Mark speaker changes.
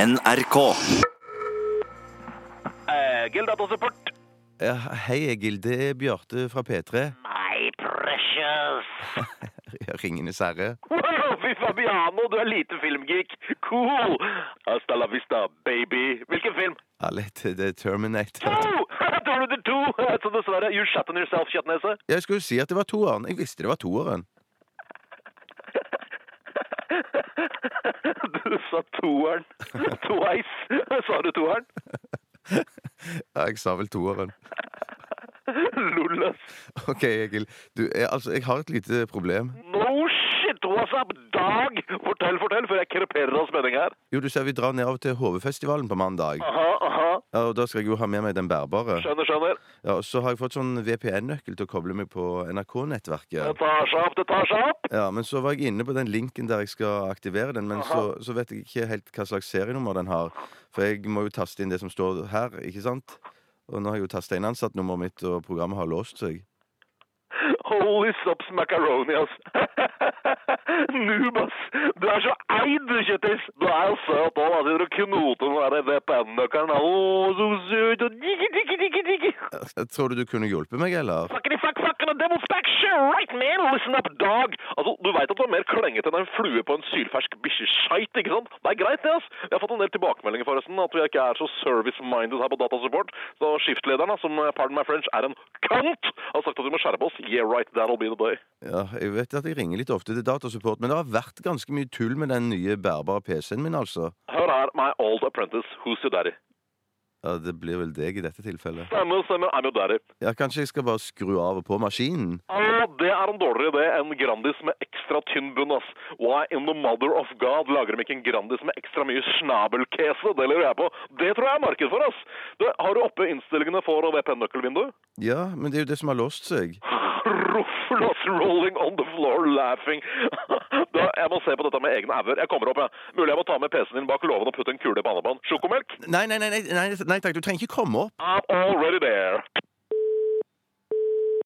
Speaker 1: NRK.
Speaker 2: Eh, Gilda på support.
Speaker 3: Ja, Hei, Egil. Det er Bjarte fra P3.
Speaker 2: My precious.
Speaker 3: Ringenes herre.
Speaker 2: Wow, fy Fabiano, du er lite filmgeek. Cool. Hasta la vista, baby. Hvilken film?
Speaker 3: Ja, litt The Terminator.
Speaker 2: Oh, Terminator 2! Så dessverre, you shut on yourself, kjøttnese.
Speaker 3: Jeg skulle si at det var toeren. Jeg visste det var toeren.
Speaker 2: Du sa toeren. Twice. Sa du toeren?
Speaker 3: Ja, jeg sa vel toeren.
Speaker 2: Lol, ass.
Speaker 3: OK, Egil. Du, jeg, altså, jeg har et lite problem.
Speaker 2: No shit, WhatsApp, dag! Fortell, fortell, før jeg kreperer av spenning her.
Speaker 3: Jo, du ser vi drar nedover til HV-festivalen på mandag.
Speaker 2: Aha, aha.
Speaker 3: Ja, og Da skal jeg jo ha med meg den bærbare.
Speaker 2: Skjønner, skjønner.
Speaker 3: Ja, og så har jeg fått sånn VPN-nøkkel til å koble meg på
Speaker 2: Det
Speaker 3: NRK-nettverket.
Speaker 2: tar seg opp, det tar seg opp.
Speaker 3: Ja, Men så var jeg inne på den linken der jeg skal aktivere den, men så, så vet jeg ikke helt hva slags serienummer den har. For jeg må jo taste inn det som står her, ikke sant? Og nå har jeg jo tasta inn ansattnummeret mitt, og programmet har låst seg.
Speaker 2: Holy sops macaroni, ass. Noob, ass. Du er så eid, du, kjøttis. Du er jo søt òg, da. Sitter og knoter med den der VPN-nøkkelen. Å, så søt. og digge, digge, digge, digge.
Speaker 3: Tror du du kunne hjulpet meg, eller?
Speaker 2: Fuckity fuck fucking a devil's back shit, right man, listen up dog. Altså, du vet at du er mer klengete enn en flue på en sylfersk bikkjeskeit, ikke sant? Det er greit det, ass. Jeg har fått en del tilbakemeldinger forresten, at vi ikke er så service-minded her på datasupport. Så skiftlederen, da, som eh, pardon my French, er en cunt, har sagt at vi må skjerpe oss. Yeah right, that'll be the day.
Speaker 3: Ja, Jeg vet at jeg ringer litt ofte til datasupport, men det har vært ganske mye tull med den nye bærbare PC-en min, altså.
Speaker 2: Hør her, my old apprentice, who's your daddy?
Speaker 3: Ja, Det blir vel deg i dette tilfellet.
Speaker 2: Stemmer, stemmer, I'm your daddy.
Speaker 3: Ja, Kanskje jeg skal bare skru av og på maskinen?
Speaker 2: Å, det er en dårligere idé enn Grandis med ekstra tynn bunn, ass. Why in the mother of God lager de ikke en Grandis med ekstra mye snabelkese? Det lurer jeg på. Det tror jeg er marked for, ass. Du, har du oppe innstillingene for VPN-nøkkelvinduet?
Speaker 3: Ja, men det er jo det som har låst seg.
Speaker 2: Rufflos rolling on the floor laughing. Du, jeg må se på dette med egne auger. Jeg kommer opp, jeg. Mulig jeg må ta med PC-en din bak låven og putte en kule i pannebanen. Sjokomelk?
Speaker 3: Nei, nei, nei, nei, nei, nei takk, du trenger ikke komme opp.
Speaker 2: I'm already there.